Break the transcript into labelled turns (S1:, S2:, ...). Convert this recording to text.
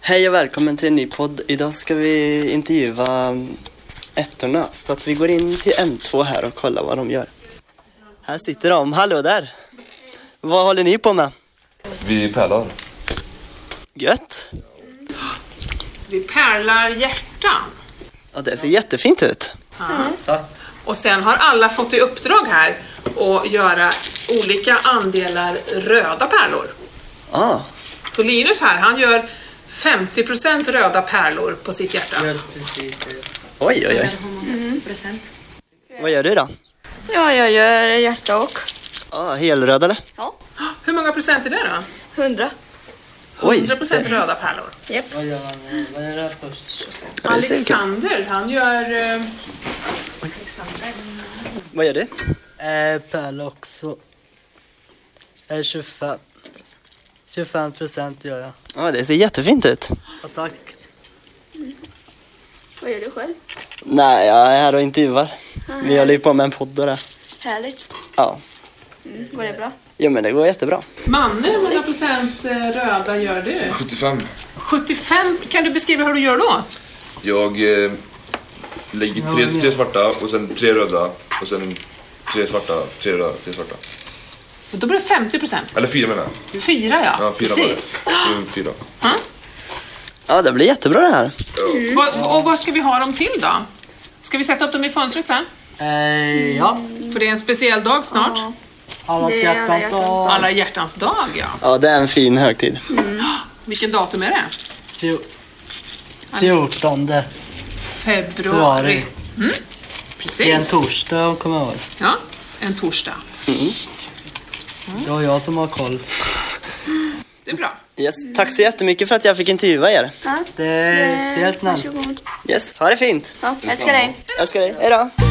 S1: Hej och välkommen till en ny podd. Idag ska vi intervjua mm, ettorna. Så att vi går in till M2 här och kollar vad de gör. Här sitter de. Hallå där! Vad håller ni på med?
S2: Vi pärlar.
S1: Gött!
S3: Vi pärlar hjärtan.
S1: Ja, det ser jättefint ut.
S3: Och sen har alla fått i uppdrag här att göra olika andelar röda pärlor.
S1: Ah,
S3: Så Linus här, han gör 50% röda pärlor på sitt hjärta.
S1: oj, oj, oj. Vad gör du då?
S4: Ja, jag gör hjärta och.
S1: Ah, helröd eller?
S4: Ja.
S3: Hur många procent är det
S4: Hundra.
S3: då?
S1: Oj,
S3: 100% röda pärlor.
S5: Vad gör man med vad är det här först?
S1: ja, det ser kul.
S3: Alexander, han gör... eh,
S1: Vad gör du?
S5: Eh, pärl också. Eh, 25. 25 procent gör jag.
S1: Ja, det ser jättefint ut.
S5: Ja, tack.
S4: Vad gör du själv?
S1: Nej, jag är här och intervjuar. Vi håller ju på med en podd och det.
S4: Härligt.
S1: Ja,
S4: Mm. Går det
S5: Eh,
S4: bra?
S1: ja men det går jättebra.
S3: Manne, hur många procent eh, röda gör du?
S2: 75.
S3: 75, kan du beskriva hur du gör då?
S2: Jag eh, lägger tre, tre svarta och sen tre röda och sen tre svarta, tre röda, tre svarta.
S3: Då blir det 50 procent.
S2: Eller fyra menar jag.
S3: Fyra ja,
S2: Ja, fyra
S3: precis.
S2: var det. Så Fyra.
S1: Ja, det blir jättebra det här.
S3: Vad- och vad ska vi ha dem till då? Ska vi sätta upp dem i fönstret sen?
S5: Eh, ja.
S3: För det är en speciell dag snart.
S5: Alla
S4: Det är alla
S5: hjärtat
S4: hjärtans
S5: och
S3: Alla hjärtans dag, ja.
S1: Ja, det är en fin högtid.
S3: Vilken datum är det?
S5: fjo- 14.
S3: Februari.
S5: Februari.
S3: Mm,
S5: Det är en
S3: precis.
S5: torsdag om jag kommer ihåg.
S3: Ja, en torsdag.
S5: Det var jag som har koll.
S3: Det är bra.
S1: Yes. Tack så jättemycket för att jag fick intervjua er.
S4: Ja.
S5: Det är helt snällt.
S4: Eh, Varsågod.
S1: Yes. Ha det fint.
S4: Ja, älskar dig.
S1: Älskar dig. Hej då.